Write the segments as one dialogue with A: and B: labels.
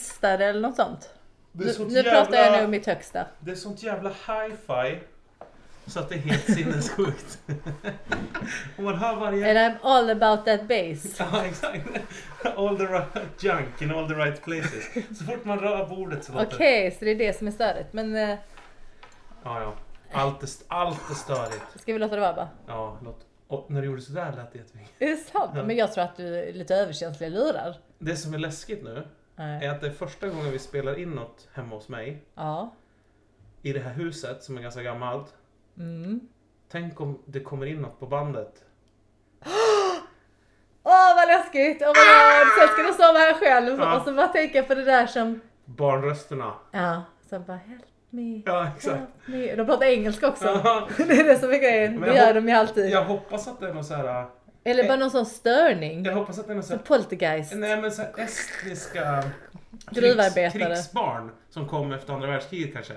A: högsta eller något sånt.
B: Det är
A: Nu,
B: sånt
A: nu pratar jag nu
B: jävla,
A: om mitt högsta.
B: det är sånt jävla hi-fi. Så att det är helt sinnessjukt. Och man hör varje...
A: And I'm all about that bass.
B: Ja, exakt. All the right junk in all the right places. Så fort man rör bordet så låter det.
A: Okej, så det är det som är störet. Men eh,
B: Ja, ja. Allt är, st- allt är störigt.
A: ska vi låta det vara bara?
B: Ja, låt. Och när du gjorde sådär lät det jättemycket.
A: Är det sant?
B: Ja.
A: Men jag tror att du är lite överkänslig lurar. Eh,
B: Det som är läskigt nu
A: Nej.
B: är att det är första gången vi spelar in något hemma hos mig.
A: Ja.
B: I det här huset som är ganska gammalt.
A: Mm.
B: Tänk om det kommer in något på bandet.
A: Åh vad läskigt! Åh vad ah! Sen ska du sova här själv
B: Ja.
A: och så bara tänka på det där som...
B: Barnrösterna.
A: Ja, som bara help me.
B: Ja, exakt.
A: help me. De pratar engelska också.
B: Ja.
A: det är det som är grejen.
B: Men
A: Det
B: jag
A: gör
B: hop-
A: de ju alltid.
B: Jag hoppas att det är någon så här.
A: Eller bara någon sån störning.
B: Jag hoppas att det är någon så
A: Som
B: här.
A: poltergeist.
B: Nej men så här estniska krigs,
A: Gruvarbetare. Mm.
B: krigsbarn som kom efter andra världskriget kanske.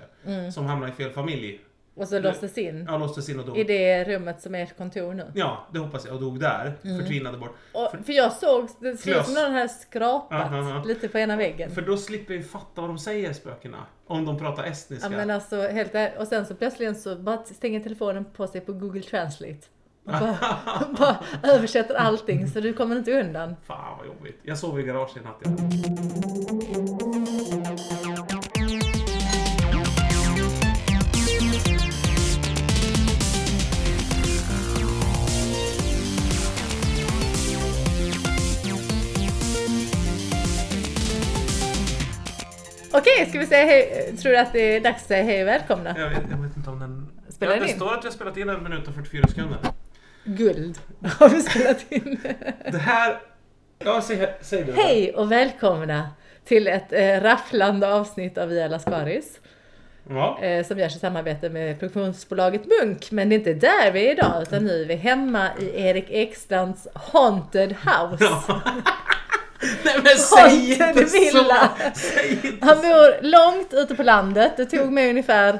B: Som hamnade i fel familj.
A: Och så låstes in.
B: Ja, låstes in och dog.
A: I det rummet som är ert kontor nu.
B: Ja, det hoppas jag. Och dog där.
A: Mm.
B: Förtvinade bort.
A: Och, för jag såg, det ser ut
B: Klös.
A: som någon här skrapat
B: Ja, ja, ja.
A: lite på ena väggen.
B: För då slipper vi fatta vad de säger spökena. Om de pratar estniska.
A: Ja men alltså helt ärligt. Och sen så plötsligen så bara stänger telefonen på sig på Google Translate. Och bara, bara översätter allting så du kommer inte undan.
B: Fan vad jobbigt. Jag sov i garaget i natt. jag.
A: Okej, ska vi säga hej? Tror du att det är dags att säga hej och välkomna?
B: Jag vet, jag vet inte om den...
A: Spelar
B: ja,
A: den
B: det
A: in?
B: står att vi har spelat in en minut och 44 sekunder.
A: Guld har vi spelat in.
B: Det här... Ja, säg, säg du.
A: hej och välkomna till ett eh, rafflande avsnitt av Via Lascaris.
B: Ja.
A: Eh, som görs i samarbete med produktionsbolaget Munk. Men det är inte där vi är idag utan nu är vi hemma i Erik Ekstrands Haunted House.
B: Nej men säg
A: Haunted
B: inte
A: villa.
B: så! Säg inte
A: Han bor långt ute på landet. Det tog mig ungefär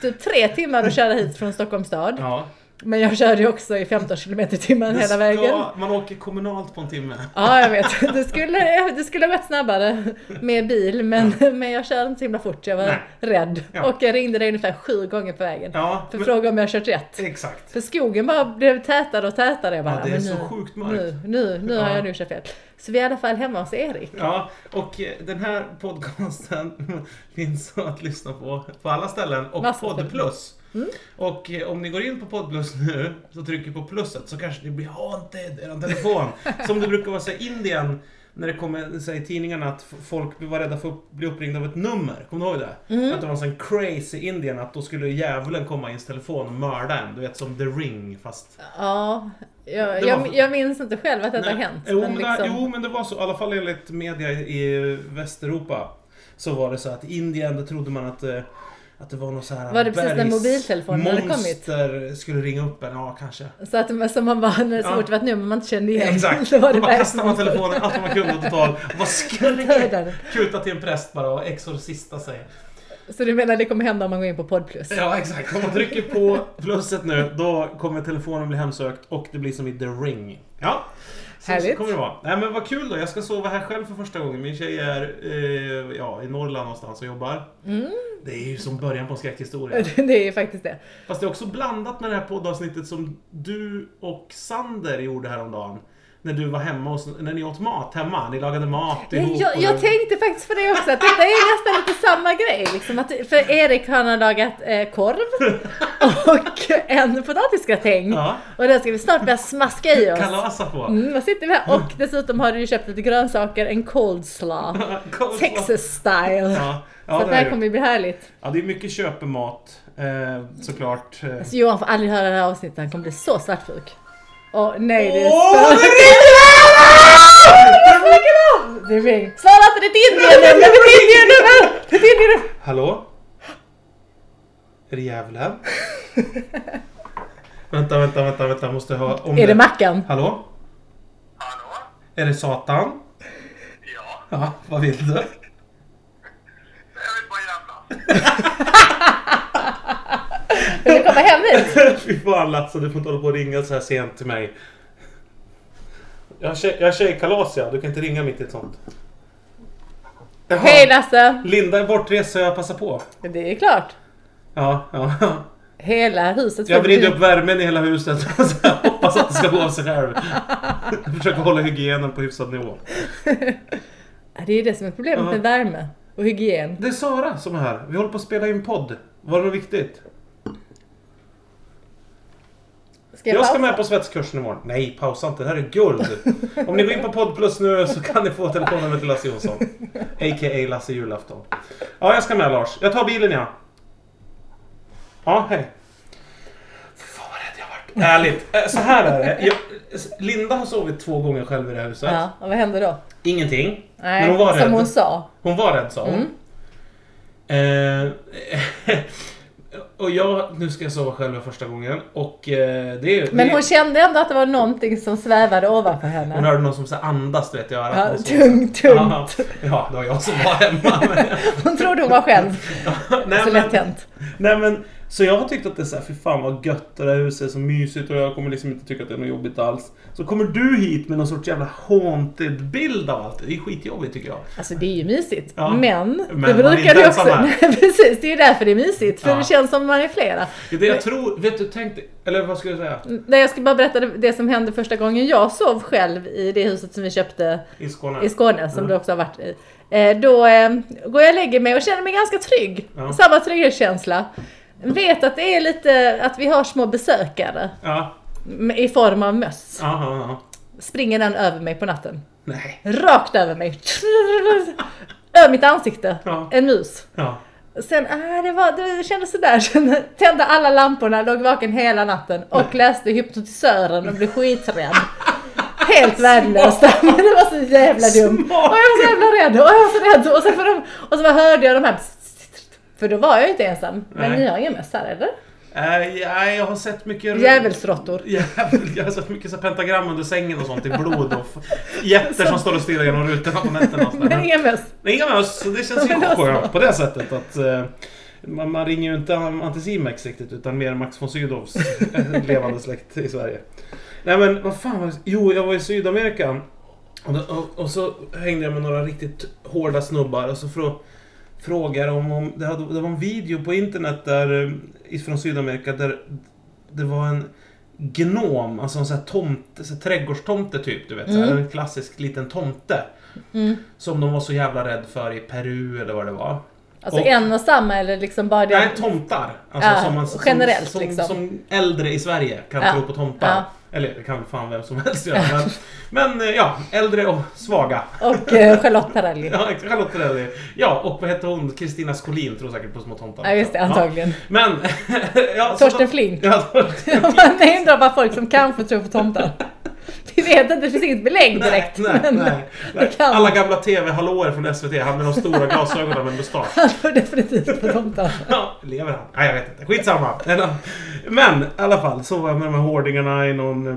A: typ tre timmar att köra hit från Stockholms stad.
B: Ja.
A: Men jag körde ju också i 15 km i timmen
B: Det
A: hela
B: ska-
A: vägen.
B: Man åker kommunalt på en timme.
A: Ja, jag vet. Det skulle, det skulle ha varit snabbare med bil, men, men jag körde inte så himla fort. Jag var
B: Nej.
A: rädd.
B: Ja.
A: Och jag ringde dig ungefär sju gånger på vägen.
B: Ja,
A: för att
B: men-
A: fråga om jag kört rätt.
B: Exakt.
A: För skogen bara blev tätare och tätare. Jag bara,
B: Ja, det är
A: men
B: så
A: nu,
B: sjukt mörkt.
A: nu, nu, nu har
B: Ja.
A: jag nu kört fel. Så vi är i alla fall hemma hos Erik.
B: Ja, och eh, den här podcasten finns att lyssna på på alla ställen och
A: Massa ställen. Mm.
B: Podd Plus. Och eh, om ni går in på Podd Plus nu så trycker på plusset så kanske det blir haunted i er telefon. Som det brukar vara så i Indien när det kommer så här, i tidningarna att f- folk var rädda för att bli uppringda av ett nummer. Kommer du ihåg det?
A: Mm.
B: Att det var en sån crazy i Indien att då skulle djävulen komma i ens telefon och mörda en. Du vet som The Ring fast...
A: Ja, jag,
B: Det var-
A: jag, jag minns inte själv att detta har
B: Nej,
A: hänt.
B: Jo
A: men
B: men, det,
A: liksom-
B: jo men det var så, i alla fall enligt media i Västeuropa. Så var det så att i Indien, då trodde man att, eh, att det var någon så här
A: Var det precis när
B: bergs-
A: mobiltelefonerna hade kommit?
B: monster skulle ringa upp en, ja kanske.
A: Så att man, så man bara, när det så
B: Ja.
A: fort det var ett nummer man inte kände igen.
B: Exakt!
A: Då var det
B: Då bara kastade man
A: verkligen-
B: telefonen, allt man kunde totalt. Vad
A: Dödade.
B: skräck! Kuta till en präst bara och exorcista sig.
A: Så du menar det kommer hända om man går in på podd plus?
B: Ja exakt, om man trycker på plusset nu då kommer telefonen bli hemsökt och det blir som i The Ring. Ja, så,
A: Härligt.
B: så kommer det vara. Nej men vad kul då, jag ska sova här själv för första gången. Min tjej är eh, ja, i Norrland någonstans och jobbar.
A: Mm.
B: Det är ju som början på en skräckhistoria.
A: Det är ju faktiskt det.
B: Fast det är också blandat med det här poddavsnittet som du och Sander gjorde häromdagen. När du var hemma hos, när ni åt mat hemma, ni lagade mat
A: Jag,
B: ihop.
A: jag,
B: och
A: jag
B: det-
A: tänkte faktiskt på det också, att detta är nästan lite samma grej. Liksom att, för Erik han har lagat eh, korv och en potatisgratäng.
B: Ja.
A: Och den ska vi snart börja smaska i oss.
B: Kalasa på.
A: Mm, vad sitter vi här? Och dessutom har du ju köpt lite grönsaker, en coleslaw.
B: Kolla.
A: Texas style.
B: Ja,
A: Så
B: ja,
A: att
B: det
A: det
B: är
A: här
B: det.
A: kommer ju bli härligt.
B: Ja, det är mycket köpemat eh, såklart. Eh.
A: Så Johan får aldrig höra det här avsnittet, han kommer bli så svartsjuk. Åh nej, det är
B: Åh,
A: spöken.
B: det rinner!
A: Det är ring. Svara inte, det är ett Indien nu! Det är ett Indien nu! Det är ett Indien nu!
B: Hallå? Är det djävulen? vänta, vänta, vänta, vänta, jag måste ha om
A: Är det Mackan?
B: Hallå?
C: Hallå?
B: Är det Satan?
C: Ja,
B: Ja, vad vill du?
C: jag vill bara jävla.
A: Vill du komma hem hit?
B: Fy fan Lasse, du får inte hålla på och ringa så här sent till mig. Jag har tjej- jag har tjejkalas ja, du kan inte ringa mitt i ett sånt. Jaha.
A: Hej Lasse!
B: Linda är bortrest så jag passar på.
A: Det är klart.
B: Ja, ja.
A: Hela huset
B: Jag
A: får
B: vrider
A: bli-
B: upp värmen i hela huset. Så jag hoppas att det ska gå av sig själv. Jag försöker hålla hygienen på hyfsad nivå.
A: Ja, Det är det som är problemet
B: Ja.
A: med värme och hygien.
B: Det är Sara som är här. Vi håller på att spela in podd. Var det något viktigt?
A: Ska
B: Jag ska
A: pausa?
B: med på svetskursen imorgon. Nej, pausa inte. Det här är guld. Om ni går in på Poddplus nu så kan ni få telefonnumret till Lasse Jonsson. A.k.a. Lasse Julafton. Ja, jag ska med Lars. Jag tar bilen ja. Ja, hej. Fy fan vad rädd jag vart. Ärligt. eh, Så här är det. Jag, Linda har sovit två gånger själv i det här huset.
A: Ja, och vad hände då?
B: Ingenting.
A: Nej,
B: Men hon var
A: som
B: rädd.
A: hon sa.
B: Hon var rädd sa hon.
A: Mm.
B: Eh, och jag, nu ska jag sova själv för första gången. Och eh, det är
A: Men
B: det,
A: hon kände ändå att det var någonting som svävade ovanför henne.
B: Hon hörde någon som så här andas du vet i örat.
A: Ja,
B: Någon som-
A: tungt,
B: Ja,
A: tungt.
B: ja, det var jag som var hemma. Men,
A: Hon trodde hon var själv.
B: nej,
A: Så lätt
B: men,
A: hänt.
B: nej, men, så jag har tyckt att det är så här, fy fan vad gött det där huset är så mysigt och jag kommer liksom inte tycka att det är något jobbigt alls. Så kommer du hit med någon sorts jävla haunted bild av allt. Det är skitjobbigt tycker jag.
A: Alltså det är ju mysigt.
B: Ja.
A: Men,
B: Men
A: det
B: man är
A: brukar
B: inte
A: det
B: ensam
A: också.
B: här.
A: Precis, det är ju därför det är mysigt. För
B: Ja.
A: det känns som man är flera.
B: Det är det jag tror, vet du, tänk dig, eller vad ska jag säga?
A: Nej, jag ska bara berätta det- det som hände första gången jag sov själv i det huset som vi köpte
B: I Skåne.
A: i Skåne, som
B: Ja.
A: du också har varit i. Eh, Då eh, går jag och lägger mig och känner mig ganska trygg.
B: Ja.
A: Samma trygghetskänsla. Vet att det är lite, att vi har små besökare
B: Ja,
A: m- i form av möss.
B: ja, ja, ja.
A: Springer den över mig på natten.
B: Nej.
A: Rakt över mig. över mitt ansikte.
B: Ja.
A: En mus.
B: Ja.
A: Sen, ah, det, var, det kändes sådär. Sen tände alla lamporna, låg vaken hela natten och läste hypnotisören och blev skiträdd. Helt värdelöst. Men det var så jävla dumt. Och jag
B: Smart.
A: var så jävla rädd. Och jag var så rädd. Och, sen för de, och så bara hörde jag de här... För då var jag ju inte ensam. Men
B: Nej.
A: ni har inga möss här eller?
B: Eh, ja, jag har sett mycket...
A: Djävulsråttor.
B: Jävel, jag har sett mycket så här pentagram under sängen och sånt i blod och f- jätter som står och stirrar genom rutorna på nätterna. och sådär.
A: Men inga möss.
B: Nej, inga möss. så Det känns ju
A: Men det var så.
B: skönt på det sättet att eh, man, man ringer ju inte Anticimex riktigt utan mer Max von Sydows eh, levande släkt i Sverige. Nej men vad fan var det? Jo, jag var i Sydamerika och, då, och, och så hängde jag med några riktigt hårda snubbar och så frå, frågade de om... Det, hade, det var en video på internet där eh, från Sydamerika där det var en gnom, alltså en sån här tomte, så här trädgårdstomte typ, du vet. Så
A: Mm.
B: här, en klassisk liten tomte. Som de var så jävla rädd för i Peru eller vad det var.
A: Alltså
B: Och-
A: en och samma eller liksom bara det.
B: Nej, tomtar. Alltså
A: Ja,
B: som man,
A: generellt,
B: som,
A: liksom.
B: som, som äldre i Sverige kan
A: Ja.
B: tro på tomtar.
A: Ja.
B: Eller det kan fan vem som helst göra. Men, men eh, ja, äldre och svaga.
A: Och eh, Charlotte Perrelli.
B: Ja, exakt. Charlotte Perrelli. Ja, och vad heter hon? Kristina Skolin tror säkert på små tomtar.
A: Ja just det, antagligen.
B: Men... ja,
A: Torsten
B: så Alltså, de-
A: Flink.
B: Ja, Torsten
A: Man hindrar bara folk som kanske tror på tomtar. Vi vet inte, det finns inget belägg direkt.
B: Nej, nej,
A: men
B: nej, nej.
A: det kan-
B: Alla gamla TV-hallåer från SVT, han med de stora glasögonen med mustasch.
A: Han tror definitivt på tomtar.
B: Ja, lever han? Nej, jag vet inte. Skitsamma. Men i alla fall, så var jag med de här hårdingarna i någon eh,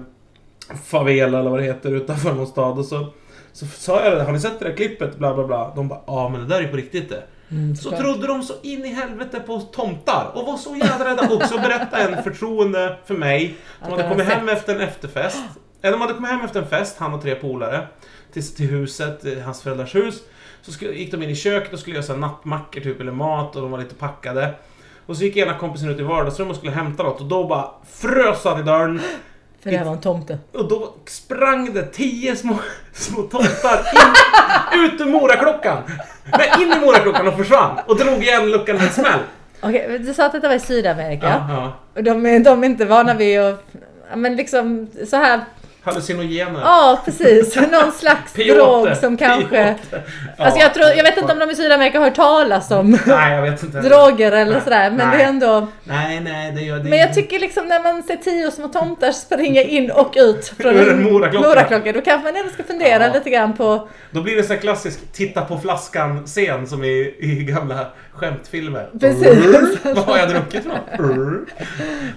B: favela eller vad det heter utanför någon stad och så så sa jag det, har ni sett det där klippet? Bla bla bla. De bara, ja men det där är på riktigt det. så
A: Mm, såklart.
B: trodde de så in i helvete på tomtar och var så jävla rädda. Och så berättade en förtroende för mig som
A: Att
B: hade
A: de
B: kommit
A: har
B: hem efter en efterfest. Eller de hade kommit hem efter en fest, han och tre polare. Till, till huset, eh, hans föräldrars hus. Så skulle, gick de in i köket och skulle göra så här nattmackor typ, eller mat och de var lite packade. Och så gick ena kompisen ut i vardagsrummet och skulle hämta något och då bara frös han i dörren.
A: För det här var en tomte.
B: Och då sprang det tio små, små tomtar in, ut ur Moraklockan! Nej, in i Moraklockan och försvann! Och drog igen luckan med en smäll!
A: Okej, du sa att detta var i Sydamerika.
B: Ja,
A: Och de, är- de är inte vana vid att... ja, Men liksom så här...
B: Hallucinogener.
A: Ja, precis. Någon slags
B: Peyote.
A: drog som kanske...
B: Peyote. Ja.
A: Alltså jag, tror, jag vet inte om de i Sydamerika har hört talas om
B: Nej, jag vet inte.
A: droger eller sådär. Men
B: Nej.
A: det är ändå...
B: Nej, nej, det gör det
A: Men jag tycker liksom när man ser tio små tomtar springa in och ut från
B: Ur en Moraklocka.
A: Moraklocka, då kanske man ändå ska fundera
B: Ja.
A: lite grann på...
B: Då blir det så här klassisk titta på flaskan-scen som i, i gamla skämtfilmer.
A: Precis.
B: Vad har jag druckit för något?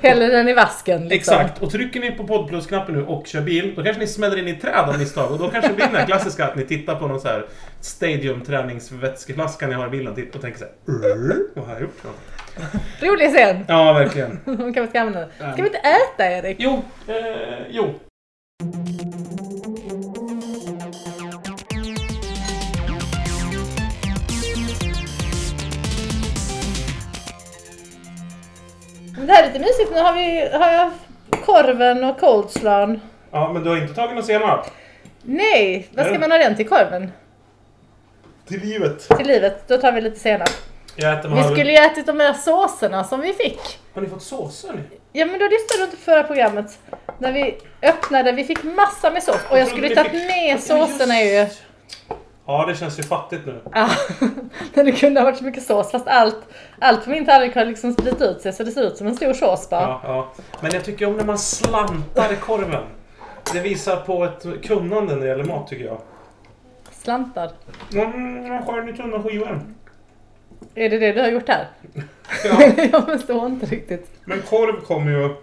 A: Häller den i vasken liksom.
B: Exakt, och trycker ni på poddplusknappen nu och kör bil, då kanske ni smäller in i ett träd av misstag och då kanske det blir den här klassiska att ni tittar på någon så här stadiumträningsvätskeflaska ni har i bilen titt- och tänker så här "Urr, Vad har jag gjort? för något?"
A: Rolig scen!
B: Ja, verkligen.
A: De kanske ska använda den. Ska vi inte äta Erik?
B: Jo, eh, jo.
A: Men det här är lite mysigt, nu har, vi, har jag korven och coleslawn.
B: Ja, men du har inte tagit någon senap?
A: Nej, vad ska
B: Nej.
A: man ha den till korven?
B: Till livet.
A: Till livet? Då tar vi lite senap.
B: Jag äter
A: Vi
B: med
A: skulle ju ätit de här såserna som vi fick.
B: Har ni fått såser ni?
A: Ja men då lyssnade du inte på förra programmet. När vi öppnade, vi fick massa med sås. Och jag skulle ju tagit med såserna ju.
B: Ja, det känns ju fattigt nu.
A: Ja, men det kunde ha varit så mycket sås fast allt, allt på min tallrik har liksom spridit ut sig så det ser ut som en stor sås bara.
B: Ja, ja. Men jag tycker om när man slantar i korven. Det visar på ett kunnande när det gäller mat tycker jag.
A: Slantar.
B: Mm, jag skär ni tunna skivor?
A: Är det det du har gjort här?
B: Ja,
A: jag förstår inte riktigt.
B: men korv kommer ju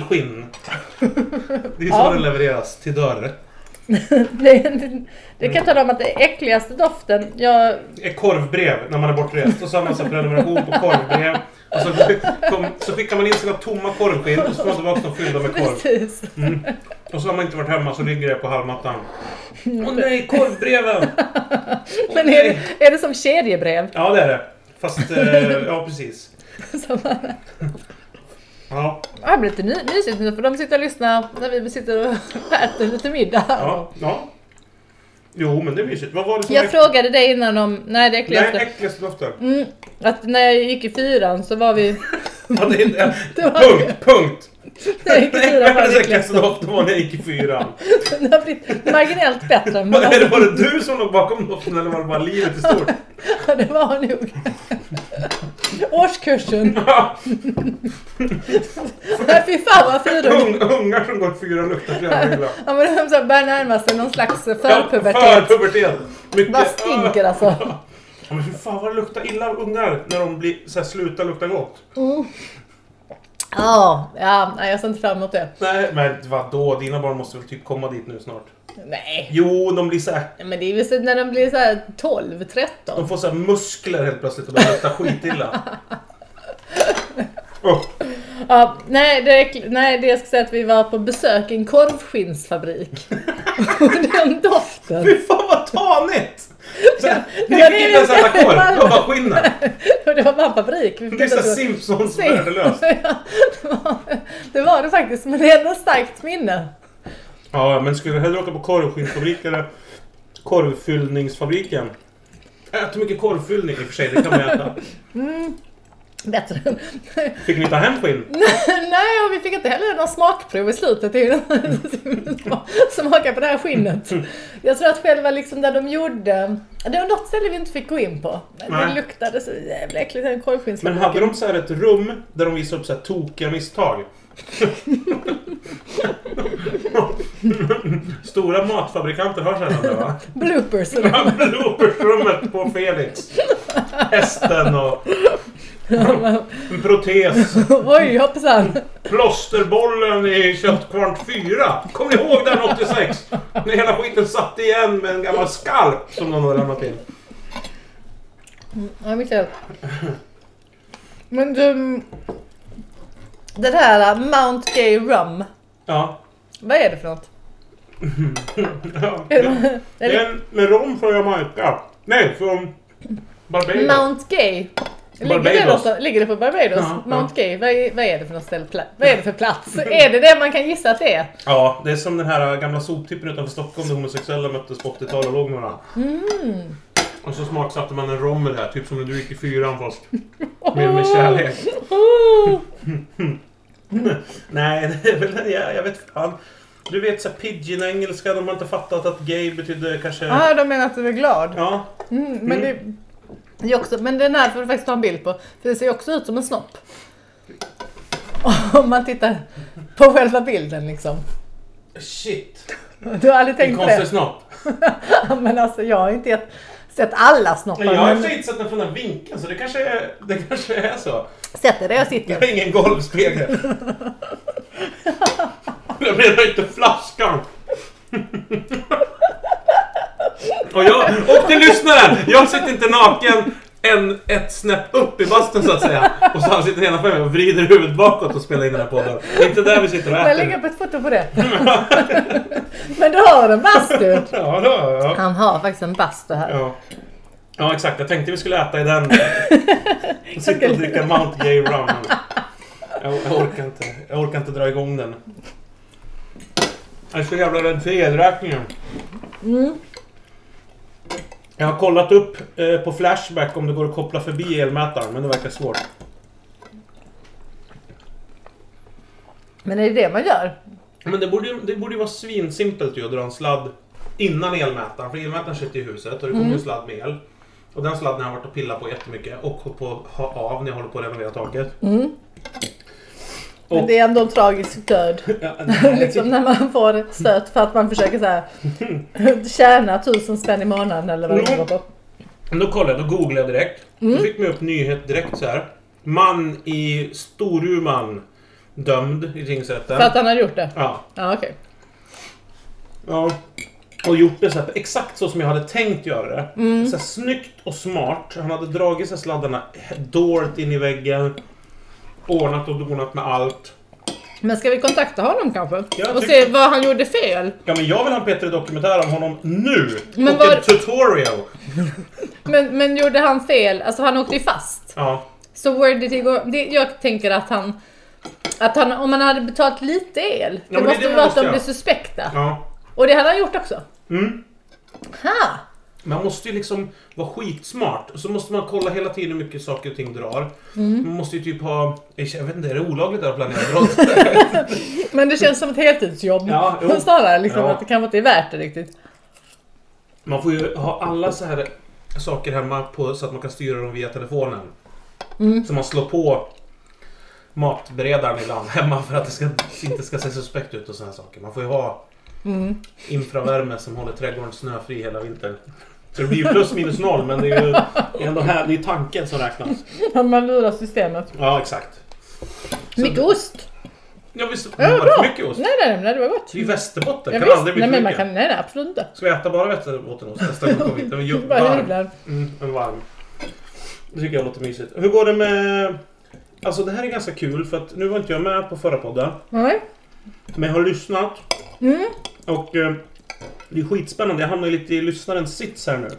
B: skinn. Det är så
A: Ja.
B: den levereras till dörr.
A: det, det, det kan jag tala om att det äckligaste doften, jag...
B: Ett korvbrev när man är bortrest. Och så har man så här prenumeration på korvbrev. Och så, kom, så skickar man in sina tomma korvskinn och så får man tillbaka dem fyllda med korv.
A: Precis.
B: Och så har man inte varit hemma så ligger det på halmmattan. Åh nej, korvbreven! Åh,
A: Men är
B: nej.
A: det, är det som kedjebrev?
B: Ja, det är det. Fast, eh, ja precis.
A: Som man...
B: Ja,
A: Ja, Det blir lite my- mysigt nu för de sitter och lyssnar när vi sitter och äter lite middag.
B: ja, ja. Jo, men det är mysigt. Vad var det som
A: Jag frågade dig innan om... Nej det
B: Nej,
A: äckligaste.
B: äckligaste doften.
A: Mm, att när jag gick i fyran så var vi...
B: Ja, det är inte...
A: Det var-
B: Punkt, punkt!
A: När jag gick i fyran var det
B: Den
A: äckligaste.
B: äckligaste doften var när jag gick i fyran.
A: Den har blivit marginellt bättre. Men
B: Var det,
A: alltså,
B: var det du som låg bakom doften eller var det bara livet i stort?
A: ja, det var nog. Årskursen. Nej, Fy fan vad fyran...
B: Ung- Ungar som går i fyran luktar så jävla illa.
A: Ja men de så börjar närma sig någon slags
B: Ja,
A: förpubertet.
B: Förpubertet. Mycket-
A: Vad stinker alltså.
B: Ja, men hur fan vad det luktar illa av ungar när de blir, så här, slutar lukta gott?
A: Ja, ja, nej, jag ser inte fram emot det.
B: Nej, men vadå? Dina barn måste väl typ komma dit nu snart?
A: Nej.
B: Jo, de blir så här,
A: Men det är väl så när de blir så här 12, 13.
B: De får så här muskler helt plötsligt och börjar lukta skitilla. Oh,
A: Ja, nej, det, är äckl- nej, det jag ska säga att vi var på besök i en korvskinnsfabrik. Och den doften.
B: fy fan vad tanigt! Så här, Ni
A: Ja, det
B: fick
A: är
B: inte ens
A: det.
B: äta korv, det var bara skinnen.
A: Och det var bara en fabrik. Vi fick
B: Det är
A: inte
B: såhär
A: ens-
B: Simpsons
A: se.
B: värdelöst.
A: Ja, det, var, det var det faktiskt, men det är ändå ett starkt minne.
B: Ja, men skulle du hellre åka på korvskinnfabrik eller korvfyllningsfabriken? Ät mycket korvfyllning i och för sig, det kan man äta.
A: Bättre.
B: Fick ni ta hem skinn?
A: Nej, och vi fick inte heller någon smakprov i slutet. Det är ju Smaka på det här skinnet. Jag tror att själva liksom där de gjorde... Det var något ställe vi inte fick gå in på. Men
B: Nej.
A: det luktade så jävla äckligt. En
B: Men
A: korvskinnsfabrik.
B: hade de så här ett rum där de visade upp så här tokiga misstag? Stora matfabrikanter har sällan det va?
A: Bloopers. eller
B: Ja, Bloopersrummet på Felix. Hästen och
A: något.
B: en protes.
A: Oj, hoppsan.
B: Plåsterbollen i Köttkvarn 4. Kommer ni ihåg den 86? När hela skiten satt igen med en gammal skalp som någon hade lämnat in.
A: Ja, mycket. Men du... Det här äh, Mount Gay Rum.
B: Ja.
A: Vad är det för något?
B: ja. Det är en med rom från Jamaica. Nej, från Barbados.
A: Mount Gay. Ligger det,
B: Barbados.
A: någonstans- ligger det på Barbados?
B: Ja,
A: Mount Gay, vad är, vad är det för något ställe? Pla- Vad är det för plats? är det det man kan gissa att det är?
B: Ja, det är som den här gamla soptippen utanför Stockholm där homosexuella möttes på 80-talet och låg med varandra.
A: Mm.
B: Och så smaksatte man en rom med det här, typ som när du gick i fyran fast med, med kärlek.
A: Oh,
B: Nej, det är väl... Jag, jag vet fan. Du vet såhär pidgin-engelska, de har inte fattat att gay betyder kanske...
A: ah, de menar att du är glad.
B: Ja.
A: Mm, men, Det, det är också, men den här får du faktiskt ta en bild på. För det ser ju också ut som en snopp. Om man tittar på själva bilden liksom.
B: Shit.
A: Du har aldrig
B: En
A: tänkt på
B: konstig
A: det?
B: snopp.
A: Ja, men alltså jag har inte gett- sett alla snoppar.
B: Men jag har i och
A: men
B: för sig inte sett den från den vinkeln, så det kanske är, det kanske är så.
A: Sätt dig där jag
B: Jag
A: sitter.
B: har ingen golvspegel. Jag menar inte flaskan. Och, jag, och till lyssnaren! Jag sitter inte naken en, ett snäpp upp i bastun så att säga. Och så han sitter nedanför mig och vrider huvudet bakåt och spelar in den här podden. Det är inte där vi sitter och
A: Jag
B: äter.
A: lägger upp ett foto på det. men du har en bastu.
B: Ja, då, ja.
A: Han har faktiskt en bastu här.
B: ja. Ja, exakt. Jag tänkte vi skulle äta i den. Och Sitta och dricka Mount Gay Rum. Jag, jag orkar inte. Jag orkar inte dra igång den. Jag är så jävla rädd för elräkningen.
A: Mm.
B: Jag har kollat upp eh, på Flashback om det går att koppla förbi elmätaren, men det verkar svårt.
A: Men är det det man gör?
B: Men det borde ju det borde ju vara svinsimpelt ju att dra en sladd innan elmätaren. För elmätaren sitter ju i huset och det kommer ju
A: Mm.
B: en sladd med el. Och den sladden har jag varit och pillat på jättemycket och hållit på att ha av när jag håller på att renovera taket.
A: Mm. Men
B: Och-
A: det är ändå en tragisk död.
B: Ja,
A: liksom när man får stöt för att man försöker så här, tjäna tusen spänn i månaden eller vad det
B: Mm.
A: går på.
B: Men Då kollade jag, då googlade jag direkt.
A: Mm.
B: Då fick man upp nyhet direkt så här. Man i Storuman dömd i tingsrätten.
A: För att han har gjort det?
B: Ja.
A: Ja, okej.
B: ja. Och gjort det så här, exakt så som jag hade tänkt göra det.
A: Mm.
B: Så här, snyggt och smart. Han hade dragit sig sladdarna dolt in i väggen. Ordnat och donat med allt.
A: Men ska vi kontakta honom kanske?
B: jag
A: och se
B: tycker-
A: vad han gjorde fel?
B: Ja men jag vill ha en Peter dokumentär om honom nu!
A: Men
B: och
A: var-
B: en tutorial!
A: Men, men gjorde han fel? Alltså han åkte ju fast.
B: Ja.
A: Så where did he go? Det, jag tänker att han... Att han, om han hade betalat lite el, det
B: men det är
A: måste ju
B: det man
A: vara att
B: måste
A: de
B: göra.
A: blir suspekta.
B: ja.
A: Och det hade han gjort också.
B: Mm.
A: Ha!
B: Man måste ju liksom vara skitsmart. Och så måste man kolla hela tiden hur mycket saker och ting drar.
A: Mm.
B: Man måste ju typ ha... Jag vet inte, är det olagligt att planera brott?
A: Men det känns som ett heltidsjobb.
B: Ja, jo.
A: Snarare liksom
B: Ja.
A: att det kanske inte är värt det riktigt.
B: man får ju ha alla så här saker hemma på, så att man kan styra dem via telefonen.
A: Mm.
B: Så man slår på matberedaren ibland hemma för att det ska, inte ska se suspekt ut och såna här saker. Man får ju ha
A: Mm.
B: infravärme som håller trädgården snöfri hela vintern. Så det blir ju plus minus noll men det är ju det är ändå här, det är tanken som räknas.
A: Man lurar systemet.
B: Ja, exakt.
A: Mycket ost.
B: Ja, visst,
A: Ja,
B: det var
A: bra.
B: för mycket ost.
A: Nej, nej, nej, det var gott.
B: Det är ju Västerbotten,
A: Ja,
B: kan
A: visst.
B: aldrig bli
A: nej,
B: för
A: men man
B: mycket.
A: kan, nej, nej, absolut inte.
B: Ska vi äta bara Västerbottenost nästa gång vi kommer hit? Den är ju
A: Bara
B: varm.
A: hyvlar.
B: Mm, en varm. Det tycker jag låter mysigt. Hur går det med... Alltså det här är ganska kul för att nu var inte jag med på förra podden.
A: Nej.
B: Men jag har lyssnat
A: Mm.
B: och eh, det är skitspännande. Jag hamnar ju lite i lyssnarens sits här nu.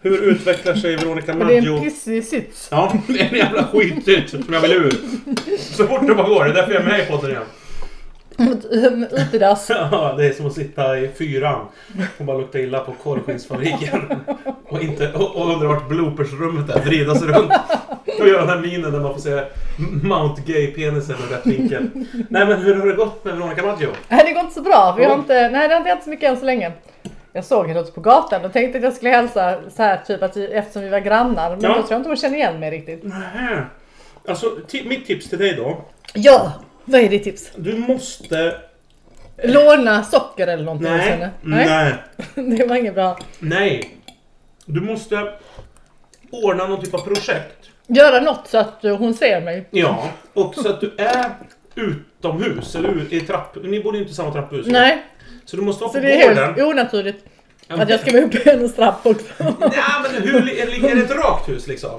B: Hur utvecklar sig Veronica
A: Och det är en
B: Maggio?
A: pissig sits.
B: Ja, det är en jävla skitsits som jag vill ur. Så fort det bara går. Det är därför jag är med i podden igen.
A: Mot um, utedass.
B: Ja, det är som att sitta i fyran och bara lukta illa på korvskinsfabriken. Och, inte, och, och undra vart bloopersrummet är, vrida sig runt. Och göra den här minen där man får se Mount Gay-penisen i rätt vinkel. Nej men hur har det gått med Veronica Maggio?
A: Nej, det går inte så bra. Vi har
B: Ja.
A: inte, nej, det har inte hänt så mycket än så länge. Jag såg henne ute på gatan och tänkte att jag skulle hälsa så här, typ att vi, eftersom vi var grannar. Men
B: Ja.
A: då tror jag inte hon känner igen mig riktigt.
B: Nähä. Alltså, ti- mitt tips till dig då.
A: Ja, vad är ditt tips?
B: Du måste...
A: Låna socker eller någonting hos
B: Nej.
A: henne? Nej.
B: Nej.
A: Det var inget bra.
B: Nej. Du måste ordna någon typ av projekt.
A: Göra något så att eh, hon ser mig.
B: Ja. Och så att du är utomhus, eller ur- i trapp... Ni bor ju inte i samma trapphus.
A: Nej,
B: Så du måste vara
A: så
B: på
A: det är
B: gården.
A: helt onaturligt att jag ska vara uppe i hennes trapp också.
B: Ja, men hur li- ligger det ett rakt hus liksom?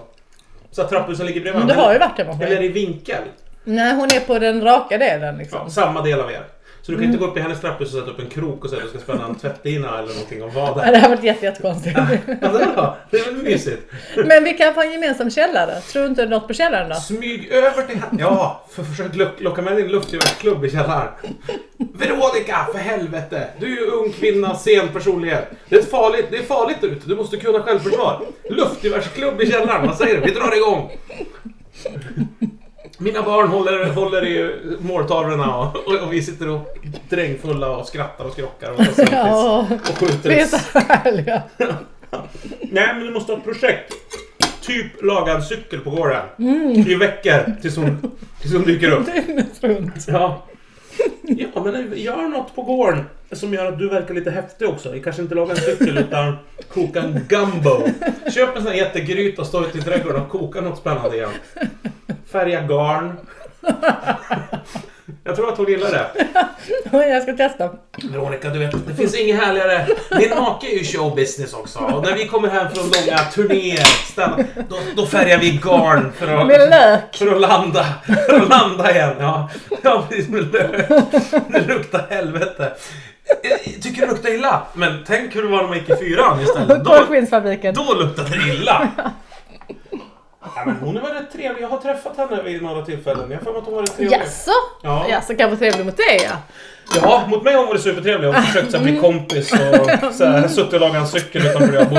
B: Så att trapphusen ligger bredvid
A: Men du
B: varandra?
A: har ju varit hemma hos
B: Eller är
A: mig.
B: det i vinkel?
A: Nej, hon är på den raka delen liksom.
B: Ja, samma del av er. Så du kan
A: Mm.
B: inte gå upp i hennes trapphus och sätta upp en krok och säga att du ska spänna en tvättdina eller någonting och vara
A: Ja,
B: där.
A: Det har varit jätte- jättekonstigt.
B: Ja, det är bra. Det är väl mysigt?
A: Men vi kan få en gemensam källare. Tror du inte något på källaren då?
B: Smyg över till henne. Ja, för försök lock- locka med din luftgevärsklubb i källaren. Veronica, för helvete! Du är ju ung kvinna, sen personlighet. Det är farligt, det är farligt där ute. Du måste kunna självförsvar. Luftgevärsklubb i källaren. Vad säger du? Vi drar igång! Mina barn håller, håller i måltavlorna och, och, och vi sitter och drängfulla och skrattar och skrockar och, tar selfies
A: Ja,
B: och skjuter
A: vi är
B: oss.
A: så härliga.
B: Nej, men du måste ha ett projekt. Typ laga en cykel på gården. I veckor tills hon, tills hon dyker upp.
A: Dygnet runt.
B: Ja. ja, men gör något på gården som gör att du verkar lite häftig också. Kanske inte laga en cykel utan koka en gumbo. Köp en sån här jättegryta och stå ute i trädgården och koka något spännande igen. Färga garn. Jag tror att hon gillar det.
A: Jag ska testa.
B: Veronica, du vet, det finns inget härligare. Din make är ju showbusiness också. Och när vi kommer hem från långa turnéer, stanna, då, då färgar vi garn för
A: Med
B: att,
A: lök.
B: för att landa. För att landa igen. Ja, ja precis. Med lök. Det luktar helvete. Jag tycker det luktar illa. Men tänk hur det var när man gick i fyran istället. Då,
A: Korvskinsfabriken.
B: då luktade det illa. Ja, men hon var rätt trevlig. Jag har träffat henne vid några tillfällen. Jag har för mig att hon var rätt trevlig.
A: Jaså?
B: Ja.
A: Jaså, kanske trevlig mot dig ja.
B: Ja, mot mig har hon varit supertrevlig. Hon har försökt så här,
A: Mm.
B: bli kompis och så här, suttit och lagat en cykel utanför där jag bor.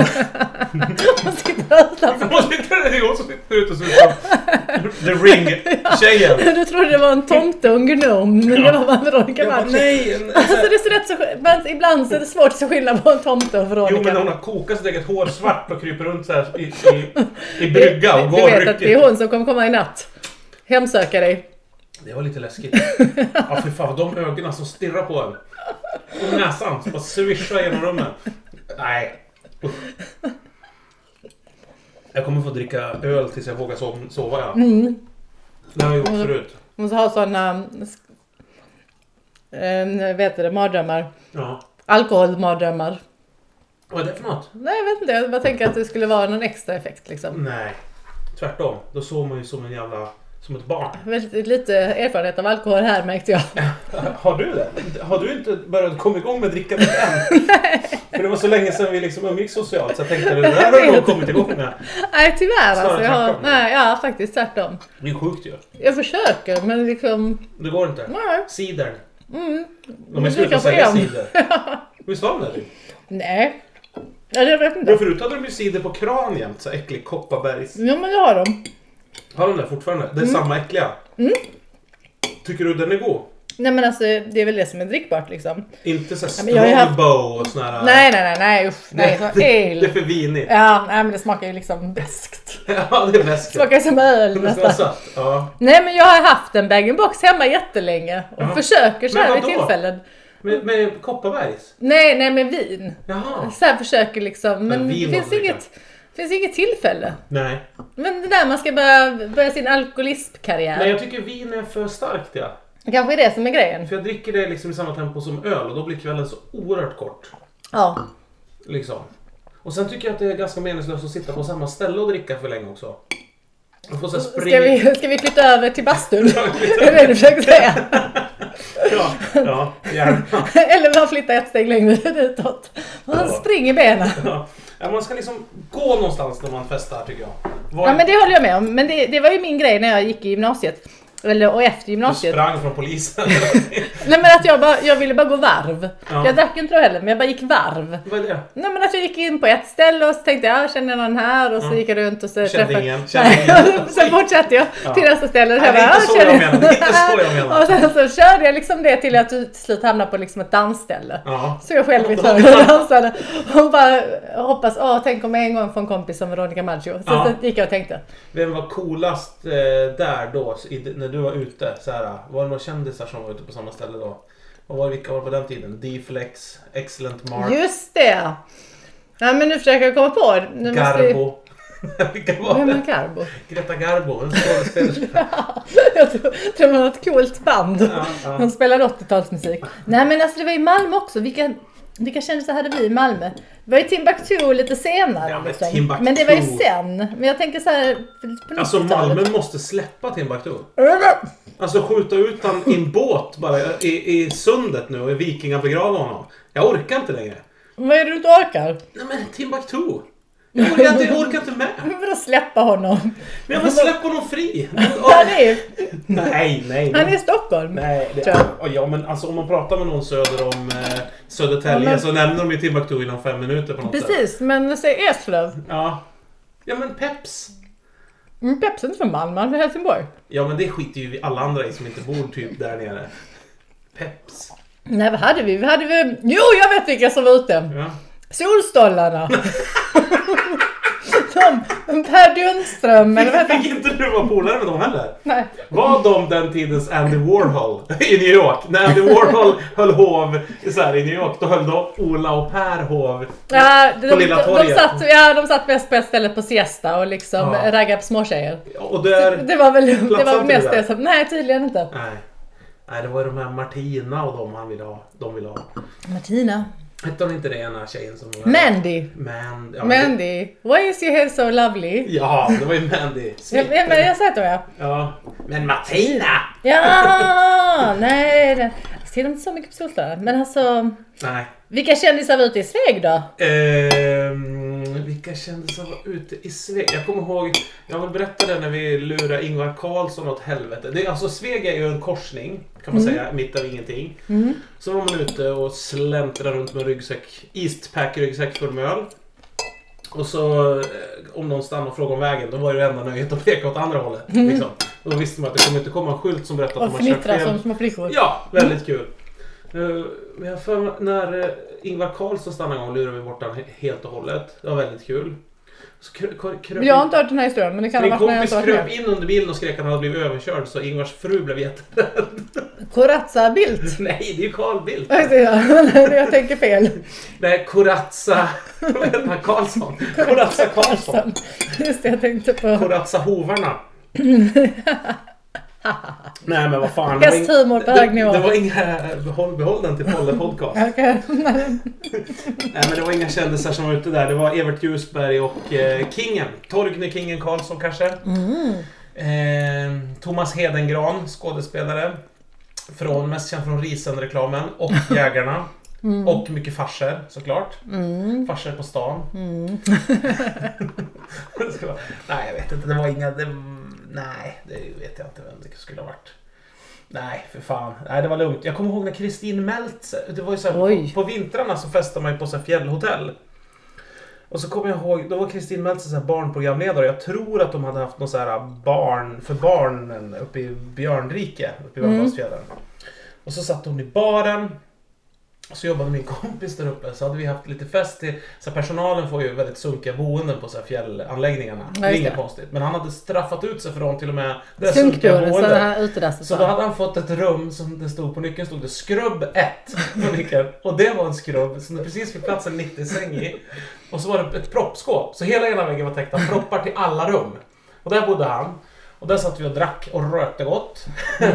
A: Hon sitter utanför.
B: Hon sitter, det är hon som sitter ute och ser ut som The Ring-tjejen.
A: Du trodde det var en tomte och en gnom, men det
B: Ja.
A: var bara Veronica
B: Jag bara,
A: Maggio.
B: nej! en- så
A: Alltså
B: här-
A: det är så rätt så, men ibland så är det svårt att skilja på en tomte och
B: Jo men
A: Veronica.
B: hon har kokat sitt eget hår svart och kryper runt så här i, i, i brygga
A: Du
B: och går
A: vet att det
B: ryckigt.
A: är hon som kommer komma i natt. Hemsöka dig.
B: Det var lite läskigt. Ja fy fan, de ögonen som stirrar på en. Och näsan som bara svischar genom rummet. Nej. Usch. Jag kommer få dricka öl tills jag vågar sov- sova ja. Det har jag gjort förut.
A: Hon måste ha sådana, äh, vet du det, mardrömmar.
B: Ja.
A: Alkoholmardrömmar.
B: Vad är det för något?
A: Nej jag vet inte, jag bara tänker att det skulle vara någon extra effekt liksom.
B: Nej. Tvärtom. Då sover man ju som en jävla... Som ett barn.
A: Väldigt lite erfarenhet av alkohol här märkte jag.
B: Har du det? Har du inte börjat komma igång med drickandet än? För det var så länge sedan vi liksom umgicks socialt så jag tänkte det där har du nog kommit igång med.
A: Nej tyvärr alltså. Jag har,
B: tvärtom.
A: nej, ja faktiskt tvärtom.
B: Det är sjukt ju.
A: Jag försöker men liksom,
B: Det går inte.
A: nej.
B: Cider. De
A: Men
B: är slut
A: dricka
B: att sälja
A: på en.
B: cider. Visst var de det?
A: Nej. Ja, det vet jag
B: Men
A: inte.
B: förut hade de ju cider på kran jämt. Så äcklig Kopparbergs.
A: Jo men det har de.
B: Har de det fortfarande? Det är
A: Mm.
B: samma äckliga. Tycker du den är god?
A: Nej men alltså det är väl det som är drickbart liksom.
B: Inte såhär
A: men jag har ju haft-
B: Strongbow och såna här...
A: Nej nej nej nej usch. Nej,
B: det,
A: så
B: det är
A: öl.
B: för vinigt.
A: Ja nej men det smakar ju liksom beskt.
B: Ja, det är
A: Det
B: bäst.
A: Smakar ju som öl
B: Det smakar
A: nästan.
B: sött. Ja.
A: Nej men jag har haft en bag box hemma jättelänge och
B: Ja.
A: försöker så
B: Men
A: här vid
B: vadå?
A: tillfällen.
B: Med, med Kopparbergs?
A: Nej nej med vin.
B: Jaha.
A: Så här försöker liksom men
B: Men
A: det
B: vin
A: finns
B: måste dricka.
A: inget, det finns inget tillfälle.
B: Nej.
A: Men det där man ska börja, börja sin alkoholistkarriär.
B: Nej, jag tycker vin är för starkt ja.
A: Kanske är det som är grejen.
B: För jag dricker det liksom i samma tempo som öl och då blir kvällen så oerhört kort.
A: Ja.
B: Liksom. Och sen tycker jag att det är ganska meningslöst att sitta på samma ställe och dricka för länge också. Man får så här springa...
A: Ska vi, ska vi flytta över till bastun? det är det du försöker säga.
B: Ja, ja, gärna.
A: Eller bara flytta ett steg längre utåt. Man
B: Ja.
A: springer benen.
B: Ja. Ja, man ska liksom gå någonstans när man festar tycker jag. Var...
A: Ja men det håller jag med om. Men det, det var ju min grej när jag gick i gymnasiet. Eller och efter
B: Du
A: gymnasiet.
B: sprang från polisen.
A: Nej men att jag bara, jag ville bara gå varv.
B: Ja.
A: Jag drack inte då heller men jag bara gick varv.
B: Vad är det?
A: Nej men att jag gick in på ett ställe och så tänkte jag, "Ah, känner jag någon här? Och så
B: Mm.
A: gick jag runt och så
B: Kände
A: träffade
B: ingen, kände
A: Nej,
B: ingen.
A: och Sen fortsatte jag
B: Ja.
A: till nästa ställe. och
B: Nej, det är
A: bara,
B: inte
A: "Ah,
B: så
A: känner
B: jag menar. Det är inte så jag menar.
A: Och sen så körde jag liksom det till att du till slut hamnade på liksom ett dansställe.
B: Ja.
A: Så jag själv i ett hörn och dansade. Och bara hoppas, åh tänk om jag en gång får en kompis som Veronica Maggio. Så,
B: Ja.
A: så gick jag och tänkte.
B: Vem var coolast eh, där då, i, när du var ute? Så här, var det några kändisar som var ute på samma ställe då? Vad var, vilka var det på den tiden? D-flex, Excellent Mark,
A: Just det! Nej men nu försöker jag komma på. Nu måste vi-
B: Garbo. vilka var
A: Vem är
B: det?
A: Garbo?
B: Greta Garbo, en skådespelerska.
A: Jag tror, tror det var ett coolt band.
B: Ja, ja.
A: De spelade 80-talsmusik. Nej men alltså det var i Malmö också. Vilka, vilka kändisar hade vi i Malmö? Det var ju Timbuktu lite senare.
B: Ja, men
A: liksom.
B: Timbuktu.
A: men det var ju sen. Men jag tänker så här på
B: Alltså
A: 90-talet.
B: Malmö måste släppa Timbuktu. Alltså skjuta ut han i en båt bara i, i sundet nu och vikingabegrava honom. Jag orkar inte längre.
A: Vad är det du inte orkar?
B: Nej men Timbuktu. Jag orkar inte, jag orkar inte med.
A: Vadå släppa honom?
B: Men jag vill släppa honom fri.
A: Han är,
B: Nej, nej.
A: han är i Stockholm.
B: Nej, det
A: Tror
B: Ja, ja, men alltså om man pratar med någon söder om eh, Södertälje
A: Ja, men-
B: så nämner de ju Timbuktu inom fem minuter på något sätt.
A: Precis, men säg Eslöv.
B: Ja. ja, men Peps.
A: Mm, Peps är inte från Malmö, han är från Helsingborg.
B: Ja, men det skiter ju vi alla andra i som inte bor typ där nere. Peps.
A: Nej, vad hade vi? Vi hade vi... Jo, jag vet vilka som var ute!
B: Ja.
A: Solstollarna! De, per Dunström, eller vad heter han?
B: Fick inte du vara polare med dem heller?
A: Nej.
B: Var de den tidens Andy Warhol i New York? När Andy Warhol höll hov så här, i New York, då höll då Ola och Per hov.
A: Ja, de,
B: På
A: de,
B: Lilla
A: de,
B: torget.
A: satt, ja, de satt mest på ett ställe på siesta och liksom
B: Ja.
A: raggade på småtjejer.
B: Och där...
A: Det var väl det
B: Platsade
A: var
B: inte
A: mest
B: det där?
A: det som... Nej, tydligen inte.
B: Nej. Nej, det var ju de här Martina och de han ville ha. De ville ha.
A: Martina.
B: Hette hon inte det ena tjejen som var...
A: Mandy.
B: Man, ja, Det,
A: Mandy. Why is your hair so lovely?
B: ja, det var ju Mandy.
A: Jag, jag, jag, jag sa det, ja.
B: Ja. Men Martina!
A: Ja, nej. det- ser inte så mycket på Solsidan. Men alltså,
B: Nej.
A: vilka kändisar var ute i Sveg då?
B: Ehm, vilka kändisar var ute i Sveg? Jag kommer ihåg, jag vill berätta det när vi lurade Ingvar Carlsson åt helvete. Det, är- alltså Sveg är ju en korsning, kan
A: Mm.
B: man säga, mitt av ingenting. Så var man ute och släntrade runt med ryggsäck, Eastpack-ryggsäck full med öl. Och så eh, om någon stannade och frågade om vägen, då var det enda nöjet att peka åt andra hållet. Liksom. Då visste man att det kommer inte komma en skylt som berättar att
A: Mm. Och
B: man kört
A: fnittra
B: fel.
A: som små flickor.
B: Ja, väldigt kul. Eh, Men jag har för mig- när eh, Ingvar Carlsson stannade igång lurade vi bort den he- helt och hållet. Det var väldigt kul. Så krö- krö- kröp
A: Jag har
B: in-
A: inte hört den här historien men det kan ha
B: Min
A: varit när jag inte
B: kompis
A: har
B: kröp
A: varit med.
B: in under bilen och skrek att han hade blivit överkörd så Ingvars fru blev jätterädd.
A: Corazza Bildt.
B: Nej, det är ju Carl Bildt.
A: Alltså, jag, jag tänker fel.
B: Nej, Corazza... Vad heter han? Karlsson? Corazza Karlsson.
A: Just det, jag tänkte på
B: Corazza Hovarna. Nej men vad fan.
A: Hästhumor på hög nivå.
B: Det, det var inga behåll, behåll den till Polle podcast.
A: Okej.
B: Nej men det var inga kändisar som var ute där. Det var Evert Ljusberg och eh, Kingen. Torgny Kingen Karlsson kanske. Eh, Thomas Hedengran, skådespelare. Från, mest känd från Risen-reklamen och Jägarna. Och mycket farser såklart. Farser på stan. Det ska vara- nej jag vet inte, det var inga... Det, nej, det vet jag inte vem det skulle ha varit. Nej, för fan. Nej, det var lugnt. Jag kommer ihåg när Kristin Meltzer... Det var ju så här,
A: Oj.
B: på, på vintrarna så festade man ju på så här fjällhotell. Och så kommer jag ihåg, då var Kristin Meltzer så här barnprogramledare. Jag tror att de hade haft någon så här barn för barnen uppe i Björnrike, uppe i Värmlandsfjällen. Och så satt hon i baren. Och Så jobbade min kompis där uppe så hade vi haft lite fest. Till, så här, personalen får ju väldigt sunkiga boenden på så här fjällanläggningarna.
A: Ja,
B: det är
A: just
B: inget
A: det.
B: konstigt. Men han hade straffat ut sig för dem till och med det här sunkiga
A: Sunkdörren,
B: boendet.
A: sådana här utedasset.
B: Så då hade han fått ett rum som det stod på nyckeln stod det skrubb 1 på nyckeln. Och det var en skrubb som det precis fick plats en 90-säng i. Och så var det ett proppskåp. Så hela ena väggen var täckt av proppar till alla rum. Och där bodde han. Och där satt vi och drack och rökte gott.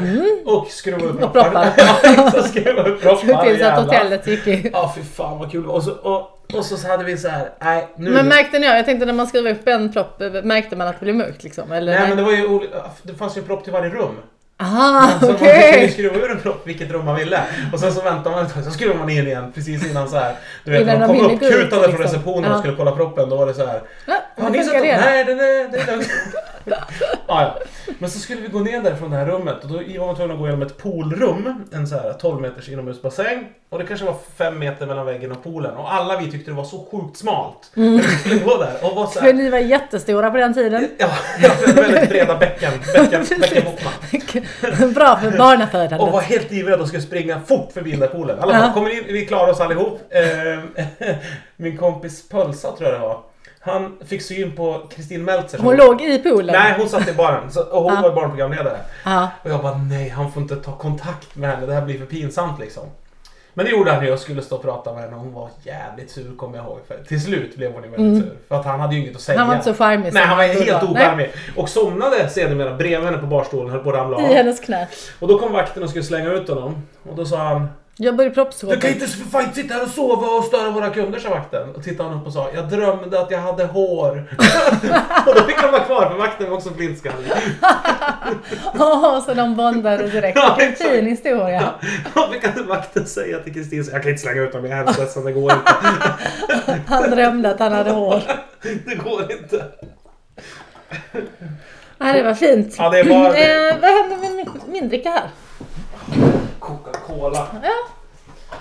B: och skruvade upp
A: Mm. Och proppar.
B: Ja, så skruvade upp proppar.
A: Såg till så att
B: jävlar.
A: hotellet gick i.
B: Ja, fy fan vad kul det var. Och så, och, och så hade vi så här, nej nu...
A: Men märkte ni, jag tänkte när man skrev upp en propp, märkte man att det blev mörkt liksom? Eller?
B: nej men det var ju oli- det fanns ju en propp till varje rum.
A: Aha,
B: Så man
A: Ah, okej!
B: kunde skruva ur en propp vilket rum man ville. Och sen så väntar man ett tag, så skruvar man in igen precis innan så här. Du vet,
A: Innan de
B: man kom
A: hinner gå ut,
B: uppkutande från
A: liksom.
B: receptionen och
A: Ja.
B: skulle kolla proppen. Då var det så här.
A: Ja,
B: Har
A: hur
B: ni sett
A: funkar
B: dem?
A: det?
B: Nej, den är, den är lugn. ja, ja. Men så skulle vi gå ner där från det här rummet och då var man tvungen att gå igenom ett poolrum. En så här 12 meters inomhusbassäng. Och det kanske var 5 meter mellan väggen och poolen. Och alla vi tyckte det var så sjukt smalt. När vi skulle gå där. Och var så
A: Mm. För
B: här,
A: ni var jättestora på den tiden.
B: ja, väldigt breda bäcken. Bäcken, bäckenbottnar.
A: Bra för
B: Och var
A: barnafödande.
B: helt livrädd och skulle springa fort förbi den där poolen. Alla bara,
A: Ja.
B: kommer in, vi klarar oss allihop. Eh, Min kompis Pölsa tror jag det var. Han fick syn på Kristin Meltzer. som-
A: Hon låg i poolen.
B: Nej, hon satt i baren. Så, och hon
A: Ja.
B: var barnprogramledare.
A: Ja.
B: Och jag bara, nej han får inte ta kontakt med henne. Det här blir för pinsamt liksom. Men det gjorde han ju. Jag skulle stå och prata med henne och hon var jävligt sur kommer jag ihåg. För till slut blev hon ju väldigt sur. För att han hade ju inget att säga.
A: Mm. Han var inte så charmig som
B: Nej, han var
A: han borde
B: helt
A: vara.
B: ocharmig. Och somnade sedermera bredvid henne på barstolen. Höll på att ramla av.
A: I hennes knä.
B: Och då kom vakten och skulle slänga ut honom. Och då sa han
A: Jag började
B: Du kan
A: proppsgåpa.
B: ju inte för fan sitta här och sova och störa våra kunder, sa vakten. Och tittade han upp och sa Jag drömde att jag hade hår. och då fick han vara kvar för vakten var också blindskallig.
A: Ja, så de bondade direkt.
B: Ja,
A: Vilken
B: exakt.
A: fin historia.
B: Då fick han vakten säga till Kristin Jag kan inte slänga ut honom, jag är hemskt ledsen, det går inte.
A: Han drömde att han hade hår.
B: Det går inte.
A: Ja, det var fint.
B: Ja, det var det.
A: Eh, vad händer med min, min dricka här?
B: Coca-Cola.
A: Ja.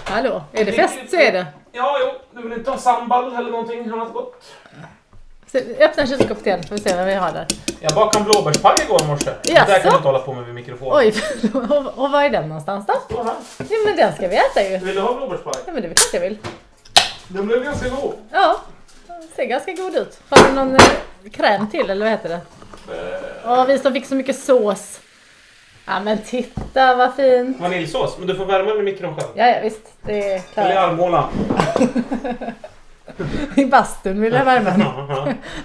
A: Hallå, är det fest så är det.
B: Ja, jo. Du vill inte ha sambal eller någonting annat gott?
A: Så, öppna kylskåpet igen får vi se vad vi har där.
B: Jag bakade en blåbärspaj igår morse. Det där
A: Jaså?
B: kan du inte hålla på med vid mikrofonen.
A: Oj, och, och var är den någonstans då?
B: Så här.
A: Nej men den ska vi äta ju.
B: Vill du ha blåbärspaj?
A: Ja men det vet jag vill.
B: Den blev ganska god.
A: Ja, den ser ganska god ut. Har du någon eh, kräm till eller vad heter det?
B: Eh,
A: Ja, vi som fick så mycket sås. Ja men titta vad fin.
B: Vaniljsås, men du får värma den i mikron själv.
A: Ja, ja visst, det klarar
B: Eller i
A: jag.
B: armhålan.
A: I bastun vill jag värma den.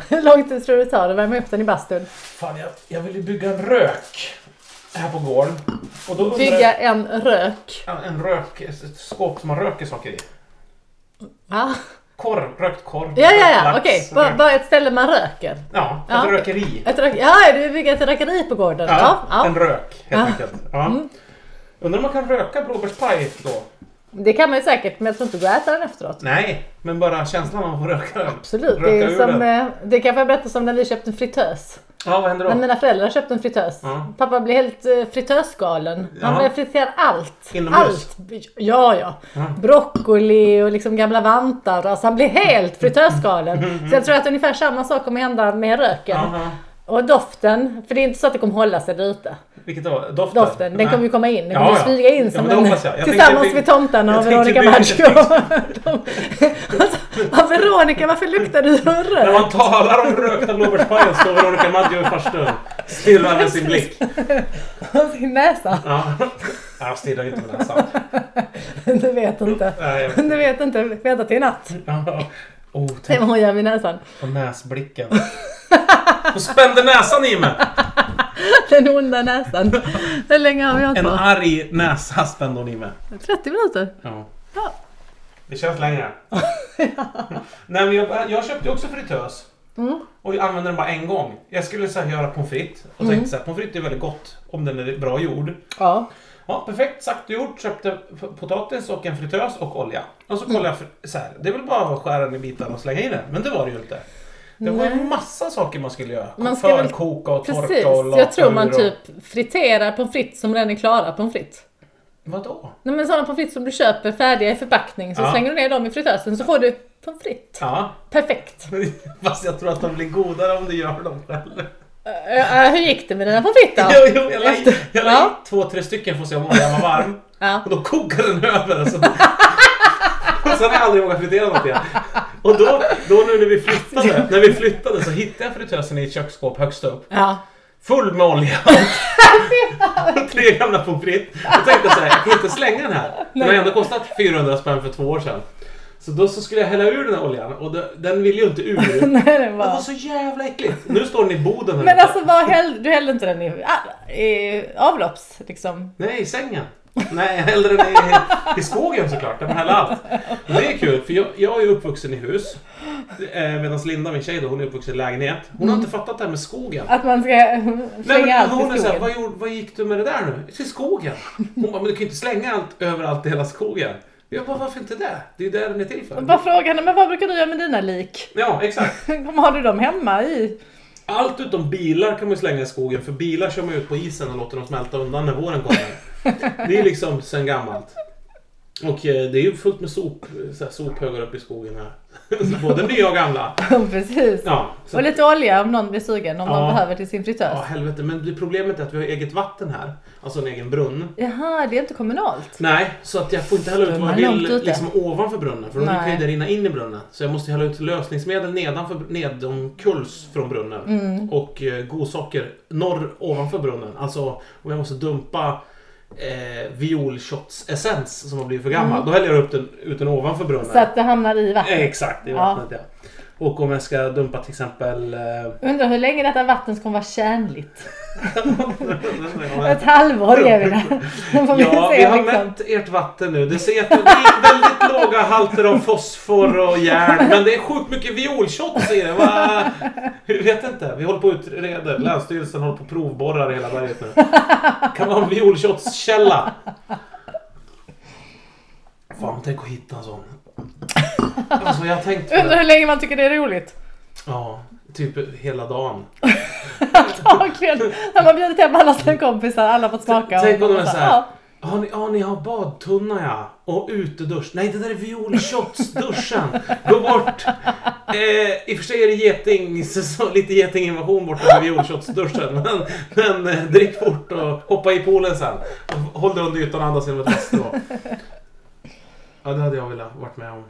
A: Hur lång tid tror du det tar att värma upp den i bastun?
B: Fan, jag, jag vill ju bygga en rök här på gården. Och då undrar
A: Bygga en rök.
B: jag... En rök, ett skåp som man röker saker i.
A: Ja,
B: Korv, rökt korv.
A: ja, ja, ja.
B: lax,
A: okej.
B: rök-
A: Bara, bara ett ställe man röker.
B: Ja, ett
A: Ja, okej.
B: rökeri.
A: Ett rök... Ja, du vill bygga ett rökeri på gården?
B: Ja,
A: Ja. Mm. ja.
B: En rök helt
A: Ja.
B: enkelt. Ja. Undrar om man kan röka blåbärspaj då?
A: Det kan man ju säkert, men jag tror inte du går att äta den efteråt.
B: Nej, men bara känslan av att få röka den.
A: Absolut.
B: Röka
A: Det, är
B: ur
A: som,
B: den.
A: eh, det kan jag berätta som när vi köpte en fritös.
B: Ja, vad händer då?
A: När mina föräldrar köpte en fritös.
B: Ja.
A: Pappa blev helt eh, fritösgalen. Han
B: Ja.
A: började fritera allt.
B: Inomhus?
A: Allt. Ja, ja.
B: Ja.
A: Broccoli och liksom gamla vantar. Alltså han blev helt fritösgalen. Så jag tror att ungefär samma sak kommer hända med röken.
B: Aha.
A: Och doften. För det är inte så att det kommer hålla sig där ute.
B: Vilket då? Doften?
A: Doften. Den
B: Nej.
A: kommer ju komma in. Den
B: Ja,
A: kommer
B: ja.
A: ju smyga in
B: Ja,
A: som
B: men det
A: en,
B: hoppas jag. Jag
A: tillsammans
B: tänkte-
A: med tomtarna och
B: jag tänkte
A: Veronica
B: bli-
A: Maggio. De- alltså, ja, Veronica, varför luktar du så
B: När
A: rök?
B: man talar om rökta blåbärspajen står Veronica Maggio i farstun. Stirrar med sin blick.
A: Och sin näsa.
B: Ja. Jag stirrar inte med näsan.
A: Du vet inte.
B: Nej, jag vet
A: Du vet inte. Vänta till natt.
B: Ja. Oh,
A: Se
B: tänk
A: vad hon gör vid näsan.
B: på näsblicken. Hon spände näsan i mig.
A: Den onda näsan. Hur länge har vi hållit
B: En
A: på?
B: arg näsa spände hon i mig.
A: 30 minuter?
B: Ja.
A: Ja.
B: Det känns längre. Nej, men jag, jag köpte ju också fritös.
A: Mm.
B: Och jag använde den bara en gång. Jag skulle så här, göra pommes frites. Och
A: Mm.
B: tänkte så här, pommes frites är väldigt gott om den är bra gjord.
A: Ja.
B: Ja, perfekt. Sagt och gjort. Köpte p- potatis och en fritös och olja. Och så
A: Mm.
B: kollade jag för, så här, det är väl bara att skära den i bitar och slänga i den. Men det var det ju inte. Det var
A: Nej.
B: en massa saker man skulle göra.
A: Man
B: Man
A: ska
B: ska
A: väl-
B: Förkoka och torka
A: Precis.
B: och laka
A: Jag tror man
B: ur och-
A: typ friterar pommes frites som redan är klara pommes frites.
B: Vadå?
A: Nej men sådana pommes frites som du köper färdiga i förpackning så
B: Ja.
A: slänger du ner dem i fritösen så får du pommes frites.
B: Ja.
A: Perfekt.
B: Fast jag tror att de blir godare om du gör dem själv.
A: Äh, äh, hur gick det med dina pommes frites då?
B: Jo, jo, jag la i, jag la i
A: Ja.
B: två, tre stycken för att se om oljan var varm.
A: Ja.
B: Och då kokade den över. Så. Och sen har jag aldrig vågat fritera något igen. Och då, då nu när vi flyttade, när vi flyttade så hittade jag fritösen i ett köksskåp högst upp.
A: Ja.
B: Full med olja. Och Tre gamla pommes frites. Jag tänkte så här, jag kan inte slänga den här. Den har ändå kostat 400 spänn för två år sedan. Så då så skulle jag hälla ur den här oljan och det, den vill ju inte ur.
A: Nej, det
B: Det var
A: var...
B: så jävla äckligt. Nu står den i boden här
A: Men
B: ute.
A: alltså vad hällde du? hällde inte den i, ah, i avlopps liksom?
B: Nej, i sängen. Nej, jag hällde den i, i skogen såklart. Där man häller allt. Och det är kul, för jag, jag är ju uppvuxen i hus. eh, Medan Linda, min tjej, då, hon är uppvuxen i lägenhet. Hon har inte fattat det här med skogen.
A: Att man ska
B: Nej,
A: slänga Mm. Alltså, allt
B: men
A: i
B: hon är
A: skogen?
B: såhär, vad, gjorde, vad gick du med det där nu? Till skogen. Hon bara, men du kan ju inte slänga allt överallt i hela skogen. Jag bara, varför inte det? Det är ju det den är till för.
A: Bara fråga henne, men vad brukar du göra med dina lik?
B: Ja, exakt.
A: Har du dem hemma i?
B: Allt utom bilar kan man ju slänga i skogen, för bilar kör man ut på isen och låter dem smälta undan när våren kommer. Det är liksom sen gammalt. Och eh, det är ju fullt med sop, så här, sophögar uppe i skogen här. Så Både nya och gamla.
A: Precis.
B: Ja, så,
A: Och lite olja om någon blir sugen, om
B: Ja.
A: någon behöver till sin
B: ja,
A: fritös.
B: helvete. Men det problemet är att vi har eget vatten här. Alltså en egen brunn.
A: Jaha, det är inte kommunalt.
B: Nej, så att jag får inte hälla ut
A: Då är
B: vad jag
A: man Typ. långt
B: vill
A: ute.
B: liksom ovanför brunnen för då
A: Nej.
B: kan ju det rinna in i brunnen. Så jag måste hälla ut lösningsmedel nedanför, nedankuls från brunnen
A: Mm.
B: och eh, godsaker norr ovanför brunnen. Alltså, om jag måste dumpa eh, violkottsessens som har blivit för gammal, då häller jag upp den, ut den ovanför brunnen.
A: Mm. Så att det hamnar i
B: eh,
A: vattnet.
B: exakt, i
A: Ja.
B: vattnet ja. Och om jag ska dumpa till exempel... Eh,
A: Undrar hur länge detta vatten ska vara tjänligt.
B: vad
A: Ett halvår ger vi det. Då får vi
B: Ja,
A: se,
B: vi har
A: liksom.
B: mätt ert vatten nu. Det ser att det är väldigt låga halter av fosfor och järn. Men det är sjukt mycket violshot i det. Va? Jag vet inte. Vi håller på att utreda. Länsstyrelsen håller på och provborrar i hela berget nu. Kan vara en violshotskälla. Fan, tänk att hitta en sån. Alltså jag har tänkt på
A: Undrar
B: det.
A: hur länge man tycker det är roligt.
B: Ja, typ hela dagen.
A: Dagligen. När man bjudit hem alla sina kompisar, alla har fått smaka.
B: Tänk om de är
A: så
B: såhär.
A: ja.
B: Ja ni, ja, ni har badtunna ja. Och utedusch. Nej, det där är violshotsduschen. Gå bort. Eh, I och för sig är det geting, säsong, lite getinginvasion borta vid violshotsduschen. Men, men eh, drick fort och hoppa i poolen sen. Och håll dig under ytan och andas genom ett vasstrå. Ja, det hade jag velat varit med om.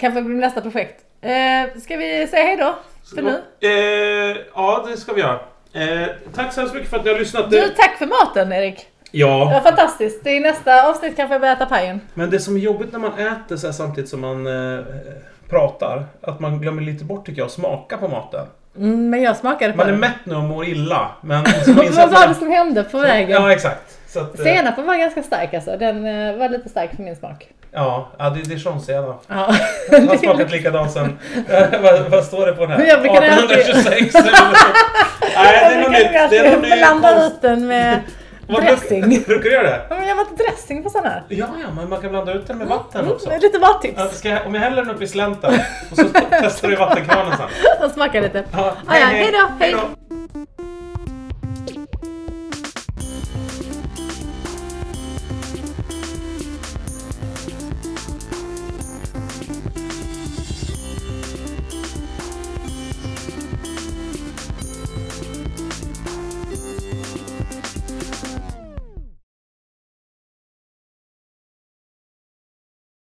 A: Kanske blir nästa projekt. Eh, ska vi säga hej då för nu?
B: Eh, ja, det ska vi göra. Eh, tack så hemskt mycket för att ni har lyssnat.
A: Du, tack för maten Erik. Det var
B: Ja, fantastiskt.
A: fantastiskt. I nästa avsnitt kanske jag börjar äta pajen.
B: Men det som är jobbigt när man äter så här samtidigt som man eh, pratar, att man glömmer lite bort tycker jag, att smaka på maten.
A: Mm, men jag smakade på
B: Man är
A: den.
B: mätt nu och mår illa, men så minns jag
A: Vad
B: att
A: var det
B: man...
A: som hände på vägen?
B: Ja, exakt. Så att, eh,
A: Senapen var ganska stark alltså. Den eh, var lite stark för min smak.
B: ja, ja, det är dijonsenap.
A: Ja.
B: Den har smakat likadant sen... vad, vad står det på den här?
A: Jag brukar alltid-
B: 1826 eller något. Nej, det är något nytt. Det är något nytt.
A: Blanda
B: konst-
A: ut den med
B: Vad
A: Dressing.
B: Brukar, brukar du göra det?
A: Ja, men jag har varit dressing på sån här.
B: Ja, ja, men man kan blanda ut den med vatten
A: Mm,
B: också.
A: lite
B: Ja,
A: badtips.
B: Ska jag, om jag häller den upp i slänten och så testar du i vattenkranen sen.
A: Och smaka lite.
B: Ja,
A: Ah, ja, hej då, hej.
B: då.